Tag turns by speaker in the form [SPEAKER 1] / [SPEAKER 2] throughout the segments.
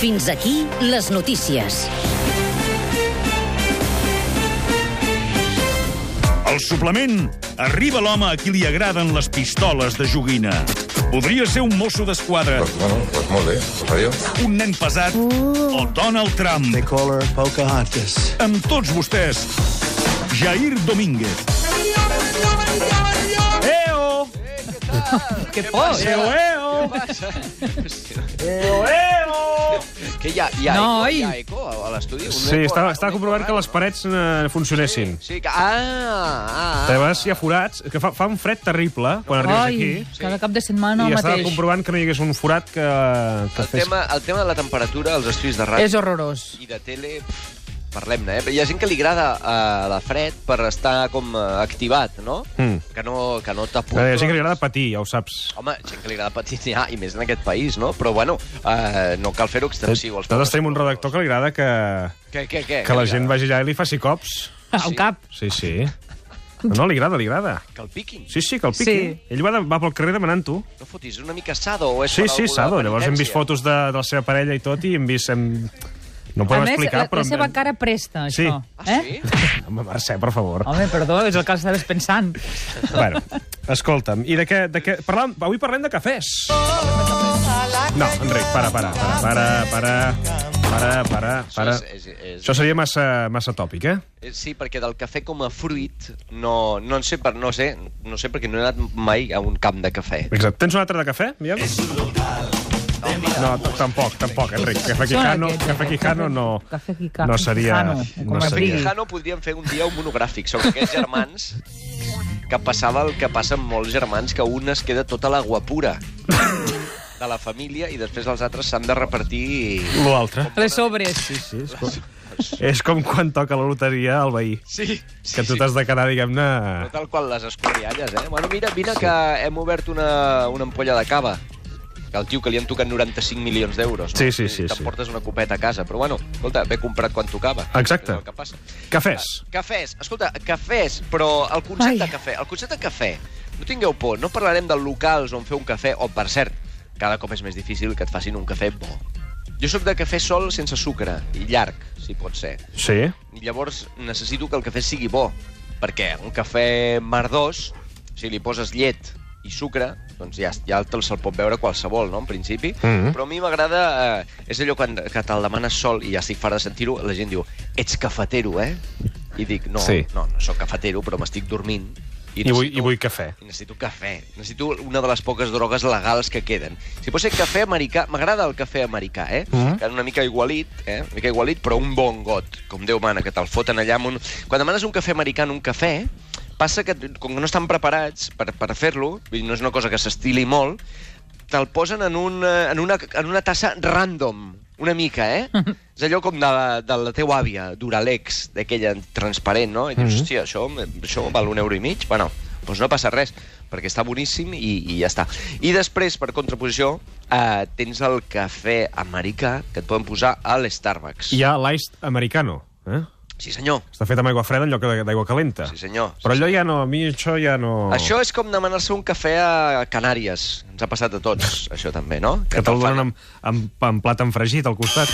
[SPEAKER 1] Fins aquí les notícies.
[SPEAKER 2] El suplement arriba l'home a qui li agraden les pistoles de joguina. Podria ser un mosso d'esquadra,
[SPEAKER 3] Doncs, Pues bueno, doncs molt bé. Adiós.
[SPEAKER 2] un nen pesat o Donald Trump.
[SPEAKER 4] They call her Pocahontas.
[SPEAKER 2] Amb tots vostès, Jair Domínguez. Eo!
[SPEAKER 5] Què fos?
[SPEAKER 2] Eo, eo! Eo, eo!
[SPEAKER 6] Que hi ha, hi ha,
[SPEAKER 5] Noi!
[SPEAKER 6] eco, hi ha eco a l'estudi? Un
[SPEAKER 7] Sí,
[SPEAKER 6] eco,
[SPEAKER 7] està,
[SPEAKER 6] un
[SPEAKER 7] està
[SPEAKER 6] eco,
[SPEAKER 7] comprovat que
[SPEAKER 6] eh?
[SPEAKER 7] les parets eh, funcionessin.
[SPEAKER 6] Sí, sí, que... Ah, ah,
[SPEAKER 7] De
[SPEAKER 6] ah.
[SPEAKER 7] vegades hi ha forats, que fa, fa un fred terrible quan arribes
[SPEAKER 5] Ai,
[SPEAKER 7] aquí.
[SPEAKER 5] cada cap de setmana
[SPEAKER 7] I
[SPEAKER 5] el
[SPEAKER 7] estava
[SPEAKER 5] mateix.
[SPEAKER 7] comprovant que no hi hagués un forat que, que
[SPEAKER 6] El tema, el tema de la temperatura als estudis de ràdio
[SPEAKER 5] És horrorós.
[SPEAKER 6] i de tele... pff, Parlem-ne, eh? Però Hi ha gent que li agrada eh, la fred per estar com eh, activat, no?
[SPEAKER 7] Mm.
[SPEAKER 6] Que no, que no t'apunta...
[SPEAKER 7] Eh, Hi ha gent que li agrada patir, ja ho saps.
[SPEAKER 6] Home, gent que li agrada patinar, i més en aquest país, no? Però, bueno, eh, no cal fer-ho extensiu. als
[SPEAKER 7] Nosaltres
[SPEAKER 6] pobres.
[SPEAKER 7] tenim un redactor que li agrada que,
[SPEAKER 6] Què, què, què?
[SPEAKER 7] que la
[SPEAKER 6] Eh, li
[SPEAKER 7] gent
[SPEAKER 6] agrada?
[SPEAKER 7] vagi allà i li faci cops.
[SPEAKER 5] Al cap.
[SPEAKER 7] Ah, Sí, sí. No, no, li agrada, li agrada.
[SPEAKER 6] Que el piquin.
[SPEAKER 7] Sí, sí, que el piquin.
[SPEAKER 5] Sí.
[SPEAKER 7] Ell va, de, va pel carrer demanant-ho.
[SPEAKER 6] No fotis, és una mica sado o és
[SPEAKER 7] Sí,
[SPEAKER 6] per
[SPEAKER 7] sí,
[SPEAKER 6] alguna
[SPEAKER 7] Sado. Llavors hem vist
[SPEAKER 6] penitència?
[SPEAKER 7] fotos de, de la seva parella i tot i hem vist... Hem... No ho
[SPEAKER 5] A
[SPEAKER 7] podem
[SPEAKER 5] més,
[SPEAKER 7] explicar,
[SPEAKER 5] la,
[SPEAKER 7] però...
[SPEAKER 5] la seva cara presta,
[SPEAKER 7] Sí.
[SPEAKER 5] això.
[SPEAKER 6] Ah,
[SPEAKER 5] Eh?
[SPEAKER 6] sí?
[SPEAKER 7] Home, Mercè, per favor.
[SPEAKER 5] Home, perdó, és el que estaves pensant.
[SPEAKER 7] Bueno, escolta'm, i de què... De què parlam, avui parlem de cafès. No, Enric, para, para, para, para, para, para, para, para.
[SPEAKER 6] Això és- és- és-
[SPEAKER 7] Això seria massa, massa tòpic, eh?
[SPEAKER 6] Eh, Sí, perquè del cafè com a fruit no, no en sé, per, no sé, no sé perquè no he anat mai a un camp de cafè.
[SPEAKER 7] Exacte. Tens un altre de cafè, aviam? No, t- tampoc, tampoc, Enric. Cafè Quijano,
[SPEAKER 5] aquests,
[SPEAKER 7] cafè
[SPEAKER 5] aquests?
[SPEAKER 7] Quijano no,
[SPEAKER 5] Cafè Quica-
[SPEAKER 7] no seria...
[SPEAKER 5] Quijano, com
[SPEAKER 7] No
[SPEAKER 5] es
[SPEAKER 6] Cafè
[SPEAKER 5] digui.
[SPEAKER 7] seria.
[SPEAKER 6] Quijano podríem fer un dia un monogràfic sobre aquests germans que passava el que passa amb molts germans, que un es queda tota la guapura de la família i després els altres s'han de repartir...
[SPEAKER 7] Lo altre.
[SPEAKER 5] Les sobres.
[SPEAKER 7] Sí, és com, és com quan toca la loteria al veí,
[SPEAKER 6] Sí, sí,
[SPEAKER 7] que tu t'has de quedar, diguem-ne...
[SPEAKER 6] No tal qual les escorrialles, eh? Bueno, mira, vine que hem obert una, una ampolla de cava. Que el tio que li han tocat 95 milions d'euros. No?
[SPEAKER 7] Sí, sí,
[SPEAKER 6] I
[SPEAKER 7] sí, sí.
[SPEAKER 6] T'emportes una copeta a casa. Però bueno, escolta, ve comprat quan tocava.
[SPEAKER 7] Exacte.
[SPEAKER 6] És el que passa. Ah,
[SPEAKER 7] Cafès.
[SPEAKER 6] Cafès, escolta, cafès, però el concepte
[SPEAKER 5] Ai.
[SPEAKER 6] de cafè, el concepte de cafè, no tingueu por, no parlarem de locals on fer un cafè, o per cert, cada cop és més difícil que et facin un cafè bo. Jo sóc de cafè sol sense sucre, i llarg, si pot ser.
[SPEAKER 7] Sí.
[SPEAKER 6] I llavors necessito que el cafè sigui bo, perquè un cafè merdós, si li poses llet i sucre, doncs ja, ja te'l se'l pot veure qualsevol, no?, en principi.
[SPEAKER 7] Mhm.
[SPEAKER 6] Però a mi m'agrada... Eh, és allò quan, que te'l demanes sol i ja estic fart de sentir-ho, la gent diu, ets cafetero, eh? I dic, no,
[SPEAKER 7] Sí.
[SPEAKER 6] no, no sóc cafetero, però m'estic dormint.
[SPEAKER 7] I vull, i vull cafè.
[SPEAKER 6] I necessito cafè. Necessito una de les poques drogues legals que queden. Si pot ser cafè americà... M'agrada el cafè americà, eh?
[SPEAKER 7] Mhm.
[SPEAKER 6] Mm. Que una mica igualit, eh? Una mica igualit, però un bon got, com Déu mana, que te'l foten allà amb un... Quan demanes un cafè americà en un cafè, passa que, com que no estan preparats per, per fer-lo, vull dir, no és una cosa que s'estili molt, te'l posen en, un, eh, en, una, en una tassa random, una mica, eh? és allò com de la, de la teva àvia, d'Uralex, d'aquella transparent, no? I dius,
[SPEAKER 7] Mhm.
[SPEAKER 6] hòstia, això, això val un euro i mig? Bueno, doncs no passa res, perquè està boníssim i, i ja està. I després, per contraposició, eh, tens el cafè americà que et poden posar a l'Starbucks.
[SPEAKER 7] Hi ha l'iced americano, eh?
[SPEAKER 6] Sí, senyor.
[SPEAKER 7] Està fet amb aigua freda en lloc de- d'aigua calenta.
[SPEAKER 6] Sí, senyor.
[SPEAKER 7] Però allò ja no, a mi això ja no...
[SPEAKER 6] Això és com demanar-se un cafè a Canàries. Ens ha passat a tots, això també, no?
[SPEAKER 7] Que te'l
[SPEAKER 6] fan-
[SPEAKER 7] donen amb, amb, amb plat enfregit al costat,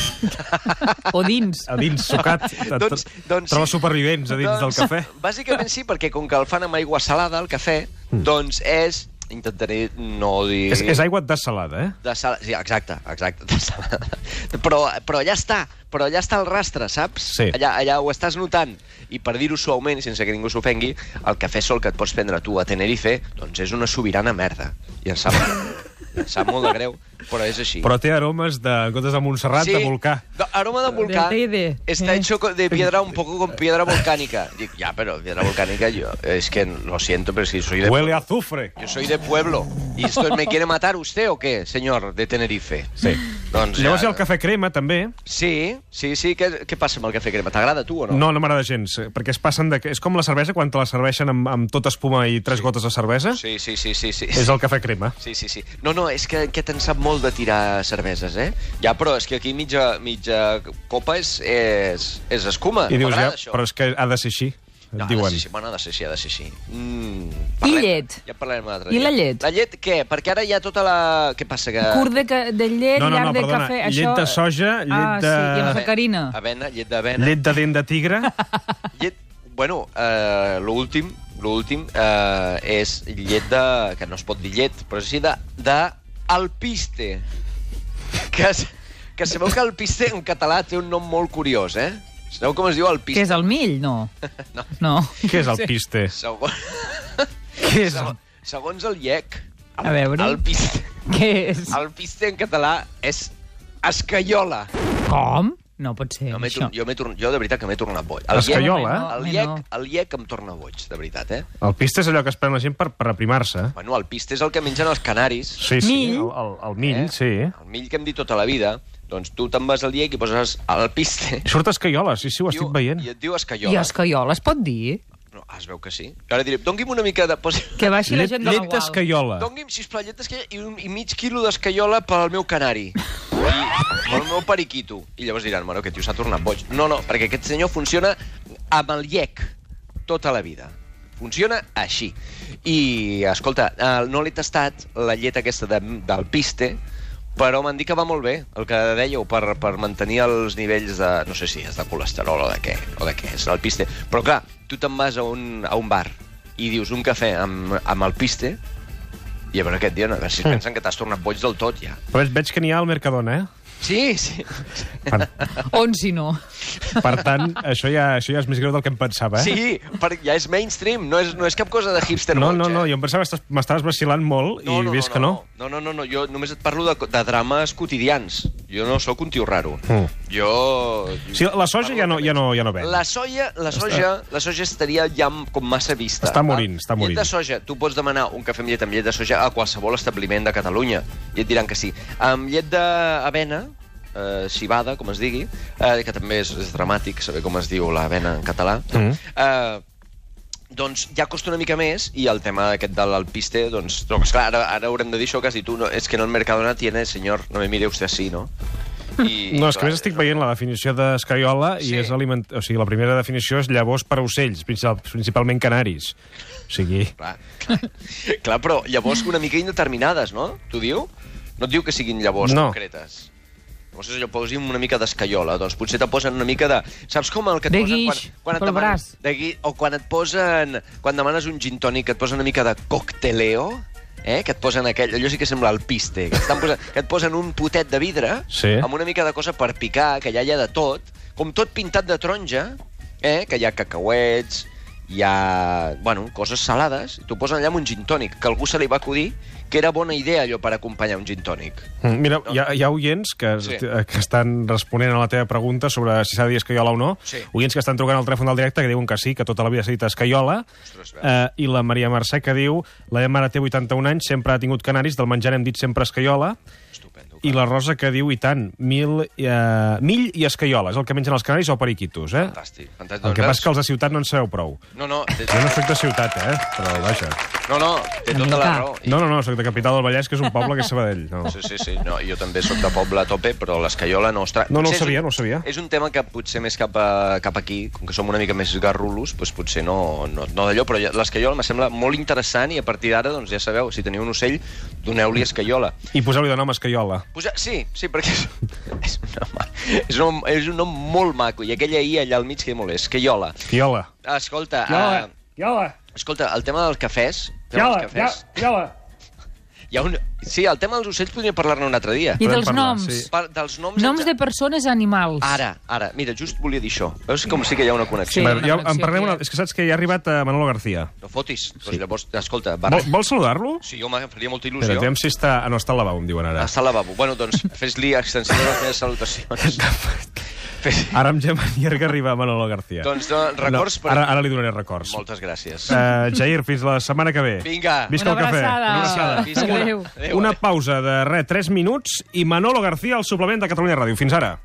[SPEAKER 5] O dins.
[SPEAKER 7] a dins, sucat.
[SPEAKER 6] Doncs- doncs
[SPEAKER 7] Trobes
[SPEAKER 6] sí.
[SPEAKER 7] supervivents a dins del cafè.
[SPEAKER 6] Doncs, Bàsicament sí, perquè com que el fan amb aigua salada, el cafè, doncs és... Intentaré no dir...
[SPEAKER 7] Mm. És, és aigua dessalada, eh?
[SPEAKER 6] De sal... Sí, exacte, exacte. De sal... però, però allà està, però allà està el rastre, saps?
[SPEAKER 7] Sí.
[SPEAKER 6] Allà, allà ho estàs notant. I per dir-ho suaument, i sense que ningú s'ofengui, el cafè sol que et pots prendre tu a Tenerife, doncs és una sobirana merda. I em sap, em sap molt de greu, però és així.
[SPEAKER 7] Però té aromes de, en comptes de Montserrat, de volcà.
[SPEAKER 6] de- Aroma de volcà.
[SPEAKER 5] Del Teide.
[SPEAKER 6] Está
[SPEAKER 5] Eh.
[SPEAKER 6] hecho co- de piedra un poco con piedra volcánica. Dic, ya, pero piedra volcánica yo... Es que lo siento, pero si soy de...
[SPEAKER 7] Huele a azufre.
[SPEAKER 6] Yo soy de pueblo. ¿Y esto me quiere matar usted o qué, señor de Tenerife?
[SPEAKER 7] Sí.
[SPEAKER 6] Doncs ja-
[SPEAKER 7] Llavors hi ha el cafè crema, també.
[SPEAKER 6] Sí, sí, sí. Què, què passa amb el cafè crema? T'agrada a tu o no?
[SPEAKER 7] No, no m'agrada gens, eh, perquè es passen de... És com la cervesa, quan te la serveixen amb, amb tota espuma i tres gotes de cervesa.
[SPEAKER 6] Sí, sí, sí, sí. sí.
[SPEAKER 7] És el cafè crema.
[SPEAKER 6] Sí, sí, sí. No, no, és que, que te'n sap molt de tirar cerveses, eh? Ja, però és que aquí mitja, mitja copa és, és, és escuma.
[SPEAKER 7] I dius, ja,
[SPEAKER 6] M'agrada això.
[SPEAKER 7] però és que ha de ser així. et
[SPEAKER 6] No, ha
[SPEAKER 7] diuen.
[SPEAKER 6] de ser així. Bueno, ha de ser així, ha de ser així. Mm,
[SPEAKER 8] llet?
[SPEAKER 6] Ja en parlarem l'altre
[SPEAKER 8] I
[SPEAKER 6] dia.
[SPEAKER 8] la llet?
[SPEAKER 6] La llet què? Perquè ara hi ha tota la... Què passa? Que...
[SPEAKER 8] Curt de, ca- de llet,
[SPEAKER 7] No, no,
[SPEAKER 8] llarg
[SPEAKER 7] no,
[SPEAKER 8] de
[SPEAKER 7] perdona.
[SPEAKER 8] cafè...
[SPEAKER 7] Llet de soja, llet
[SPEAKER 8] ah,
[SPEAKER 7] de-
[SPEAKER 8] Sí, i amb
[SPEAKER 5] Ave-
[SPEAKER 8] sacar-
[SPEAKER 5] sacarina.
[SPEAKER 6] Avena, llet d'avena.
[SPEAKER 7] Llet de dent de tigre?
[SPEAKER 6] Llet... Bueno, eh, l'últim, l'últim eh, és llet de... que no es pot dir llet, però sí de, de alpiste. Que, es- que sabeu que alpiste en català té un nom molt curiós, eh? Sabeu com es diu
[SPEAKER 5] Què
[SPEAKER 6] alpiste?
[SPEAKER 5] és, el mill? No.
[SPEAKER 6] No.
[SPEAKER 5] No.
[SPEAKER 7] Què és el piste?
[SPEAKER 6] Segons,
[SPEAKER 7] Què és el...
[SPEAKER 6] segons, segons el llec,
[SPEAKER 5] A veure.
[SPEAKER 6] alpiste,
[SPEAKER 5] Què és?
[SPEAKER 6] alpiste en català és escaiola.
[SPEAKER 5] Com? No pot ser,
[SPEAKER 6] Jo, m'he
[SPEAKER 5] això.
[SPEAKER 6] tor- jo, m'he tor- jo de veritat que m'he tornat boig. El
[SPEAKER 7] Escaiola,
[SPEAKER 6] llec,
[SPEAKER 5] eh?
[SPEAKER 6] el,
[SPEAKER 5] Home,
[SPEAKER 6] llec,
[SPEAKER 5] no.
[SPEAKER 6] el llec em torna boig, de veritat, eh?
[SPEAKER 7] El piste és allò que es pren la gent per, per aprimar-se.
[SPEAKER 6] Bueno, el piste és el que mengen els canaris.
[SPEAKER 7] Sí, sí,
[SPEAKER 5] Mill.
[SPEAKER 7] el, el, el mill,
[SPEAKER 6] Eh?
[SPEAKER 7] sí.
[SPEAKER 6] El mill que hem dit tota la vida. Doncs tu te'n vas al llec i poses el piste.
[SPEAKER 7] I Surt escaiola, sí, sí, ho estic
[SPEAKER 6] Diu-
[SPEAKER 7] veient.
[SPEAKER 6] I et diu escaiola.
[SPEAKER 5] I escaiola, es pot dir?
[SPEAKER 6] No, ah, es veu que sí. Ara diré, dongui'm una mica de... Posi...
[SPEAKER 5] Que baixi la
[SPEAKER 7] Llet,
[SPEAKER 5] gent de la
[SPEAKER 7] llet
[SPEAKER 5] Gual.
[SPEAKER 7] d'escaiola.
[SPEAKER 6] Dongui'm, sisplau, llet d'escaiola i, un, i mig quilo d'escaiola pel meu canari. I pel meu periquito. I llavors diran, bueno, aquest tio s'ha tornat boig. No, no, perquè aquest senyor funciona amb el llec tota la vida. Funciona així. I, escolta, eh, no l'he tastat, la llet aquesta de, del piste, però m'han dit que va molt bé, el que dèieu, per, per mantenir els nivells de... No sé si és de colesterol o de què, o de què és el piste. Però, clar, tu te'n vas a un, a un bar i dius un cafè amb, amb el piste, i a veure què et diuen, a veure
[SPEAKER 7] Mm.
[SPEAKER 6] si es pensen que t'has tornat boig del tot, ja.
[SPEAKER 7] Però veig- veig que n'hi ha al Mercadona, eh?
[SPEAKER 6] Sí, sí.
[SPEAKER 7] Per,
[SPEAKER 5] On si no?
[SPEAKER 7] per tant, això ja, això ja és més greu del que em pensava, eh?
[SPEAKER 6] Sí, per, ja és mainstream, no és, no és cap cosa de hipster
[SPEAKER 7] No,
[SPEAKER 6] boig,
[SPEAKER 7] no,
[SPEAKER 6] eh?
[SPEAKER 7] no, jo em pensava que estàs- m'estaves vacilant molt i he vist que no.
[SPEAKER 6] No, no, no, no, jo només et parlo de, de drames quotidians. Jo no sóc un tio raro.
[SPEAKER 7] Mm.
[SPEAKER 6] Jo...
[SPEAKER 7] Sí, la soja
[SPEAKER 6] parlo
[SPEAKER 7] ja no,
[SPEAKER 6] de-
[SPEAKER 7] ja no, ja no ven.
[SPEAKER 6] La soja, la soja, la soja estaria ja com massa vista.
[SPEAKER 7] Està morint, està morint.
[SPEAKER 6] Llet de soja, tu pots demanar un cafè amb llet amb llet de soja a qualsevol establiment de Catalunya i et diran que sí. Amb llet d'avena, eh, cibada, com es digui, eh, que també és, és dramàtic saber com es diu l'avena en català,
[SPEAKER 7] Mm.
[SPEAKER 6] eh, doncs ja costa una mica més i el tema aquest de l'alpiste, doncs, doncs clar, ara, ara haurem de dir això que has dit tu, no, és que no el Mercadona tiene, senyor, no me mire usted así, ¿no? I,
[SPEAKER 7] No, és que a
[SPEAKER 6] clar,
[SPEAKER 7] més estic veient la definició d'escaiola
[SPEAKER 6] Sí.
[SPEAKER 7] sí. i és aliment... O sigui, la primera definició és llavors per a ocells, principal- principalment canaris. O sigui...
[SPEAKER 6] Clar, clar, clar, però llavors una mica indeterminades, no? T'ho diu? No et diu que siguin llavors
[SPEAKER 7] No.
[SPEAKER 6] concretes. Llavors és allò, posi'm una mica d'escaiola, doncs potser te posen una mica de... Saps com el que et
[SPEAKER 5] De
[SPEAKER 6] posen
[SPEAKER 5] guix,
[SPEAKER 6] quan, quan et
[SPEAKER 5] pel
[SPEAKER 6] demanes...
[SPEAKER 5] braç.
[SPEAKER 6] De guix, o quan et posen... Quan demanes un gin tònic que et posen una mica de cocteleo, eh? que et posen aquell... Allò sí que sembla el piste. Que, estan posant, que et posen un potet de vidre
[SPEAKER 7] Sí.
[SPEAKER 6] amb una mica de cosa per picar, que allà hi ha de tot, com tot pintat de taronja, eh? que hi ha cacauets, hi ha, bueno, coses salades, i t'ho posen allà amb un gin tònic, que algú se li va acudir que era bona idea allò per acompanyar un gin tònic.
[SPEAKER 7] Mm, Mira, hi ha, hi ha oients que,
[SPEAKER 6] Sí.
[SPEAKER 7] sí. que estan responent a la teva pregunta sobre si s'ha de dir escaiola o no.
[SPEAKER 6] Sí.
[SPEAKER 7] Oients que estan trucant al telèfon del directe que diuen que sí, que tota la vida s'ha dit escaiola.
[SPEAKER 6] Ostres,
[SPEAKER 7] eh, I la Maria Mercè que diu la meva mare té 81 anys, sempre ha tingut canaris, del menjar hem dit sempre escaiola.
[SPEAKER 6] Estupendo.
[SPEAKER 7] I la Rosa que diu, i tant, mil, eh, mill i escaiola, és el que mengen els canaris o periquitos, eh?
[SPEAKER 6] Fantàstic, fantàstic.
[SPEAKER 7] El que
[SPEAKER 6] Doncs
[SPEAKER 7] passa és que els de ciutat no en sabeu prou.
[SPEAKER 6] veus? No, no, té,
[SPEAKER 7] Jo no sóc de ciutat, eh? Però vaja.
[SPEAKER 6] no, no, té
[SPEAKER 5] Una
[SPEAKER 6] tota la
[SPEAKER 5] mica.
[SPEAKER 6] raó. I-
[SPEAKER 7] No, no, no, sóc de Capital del Vallès, que és un poble que és Sabadell. No.
[SPEAKER 6] Sí, sí, sí. No, jo també sóc de poble a tope, però l'escaiola no... Ostres,
[SPEAKER 7] No, no
[SPEAKER 6] potser
[SPEAKER 7] ho
[SPEAKER 6] és
[SPEAKER 7] sabia,
[SPEAKER 6] un-
[SPEAKER 7] no ho sabia.
[SPEAKER 6] És un tema que potser més cap, a, cap aquí, com que som una mica més garrulos, doncs potser no, no, no d'allò, però ja- l'escaiola me sembla molt interessant i a partir d'ara, doncs ja sabeu, si teniu un ocell, doneu-li escaiola.
[SPEAKER 7] I poseu-li de nom escaiola.
[SPEAKER 6] Posar... Sí, sí, perquè és, és, un nom, és, un, nom- és un nom molt maco, i aquella I allà al mig que molt és, escaiola.
[SPEAKER 7] Escaiola.
[SPEAKER 6] Escolta,
[SPEAKER 7] Escaiola.
[SPEAKER 6] eh,
[SPEAKER 7] Escaiola.
[SPEAKER 6] escolta, el tema dels cafès... el tema dels
[SPEAKER 7] Escaiola.
[SPEAKER 6] cafès hi ha un... Sí, el tema dels ocells podríem parlar-ne un altre dia.
[SPEAKER 5] I
[SPEAKER 7] Podem
[SPEAKER 5] dels
[SPEAKER 7] parlar,
[SPEAKER 5] noms?
[SPEAKER 7] sí.
[SPEAKER 6] Per, dels noms...
[SPEAKER 5] Noms
[SPEAKER 6] ens-
[SPEAKER 5] de persones i animals.
[SPEAKER 6] Ara, ara. Mira, just volia dir això. Veus com sí que hi ha una connexió?
[SPEAKER 5] Sí.
[SPEAKER 7] Bueno, ja
[SPEAKER 5] una
[SPEAKER 7] en parlem
[SPEAKER 5] connexió
[SPEAKER 7] una...
[SPEAKER 5] aquí.
[SPEAKER 7] És que saps que ja ha arribat eh, Manolo García.
[SPEAKER 6] No fotis. Sí. Doncs llavors, escolta, va...
[SPEAKER 7] Vol, vols saludar-lo?
[SPEAKER 6] Sí, home, em faria molta
[SPEAKER 7] Espera,
[SPEAKER 6] il·lusió.
[SPEAKER 7] aviam si està... Ah, no, està al lavabo, em diuen ara.
[SPEAKER 6] Està al lavabo. Bueno, doncs, fes-li extensió de les meves salutacions. Fes...
[SPEAKER 7] Ara em gemanier que arriba Manolo García.
[SPEAKER 6] Doncs, no, records
[SPEAKER 7] No,
[SPEAKER 6] per-
[SPEAKER 7] ara, ara li donaré records.
[SPEAKER 6] Moltes gràcies.
[SPEAKER 7] Uh, Jair, fins la setmana que ve.
[SPEAKER 6] Vinga.
[SPEAKER 7] Visca
[SPEAKER 5] Una
[SPEAKER 7] el cafè.
[SPEAKER 5] abraçada.
[SPEAKER 6] Visca.
[SPEAKER 5] Adéu.
[SPEAKER 6] Adéu.
[SPEAKER 7] Una pausa de res, 3 minuts i Manolo García al suplement de Catalunya Ràdio. Fins ara.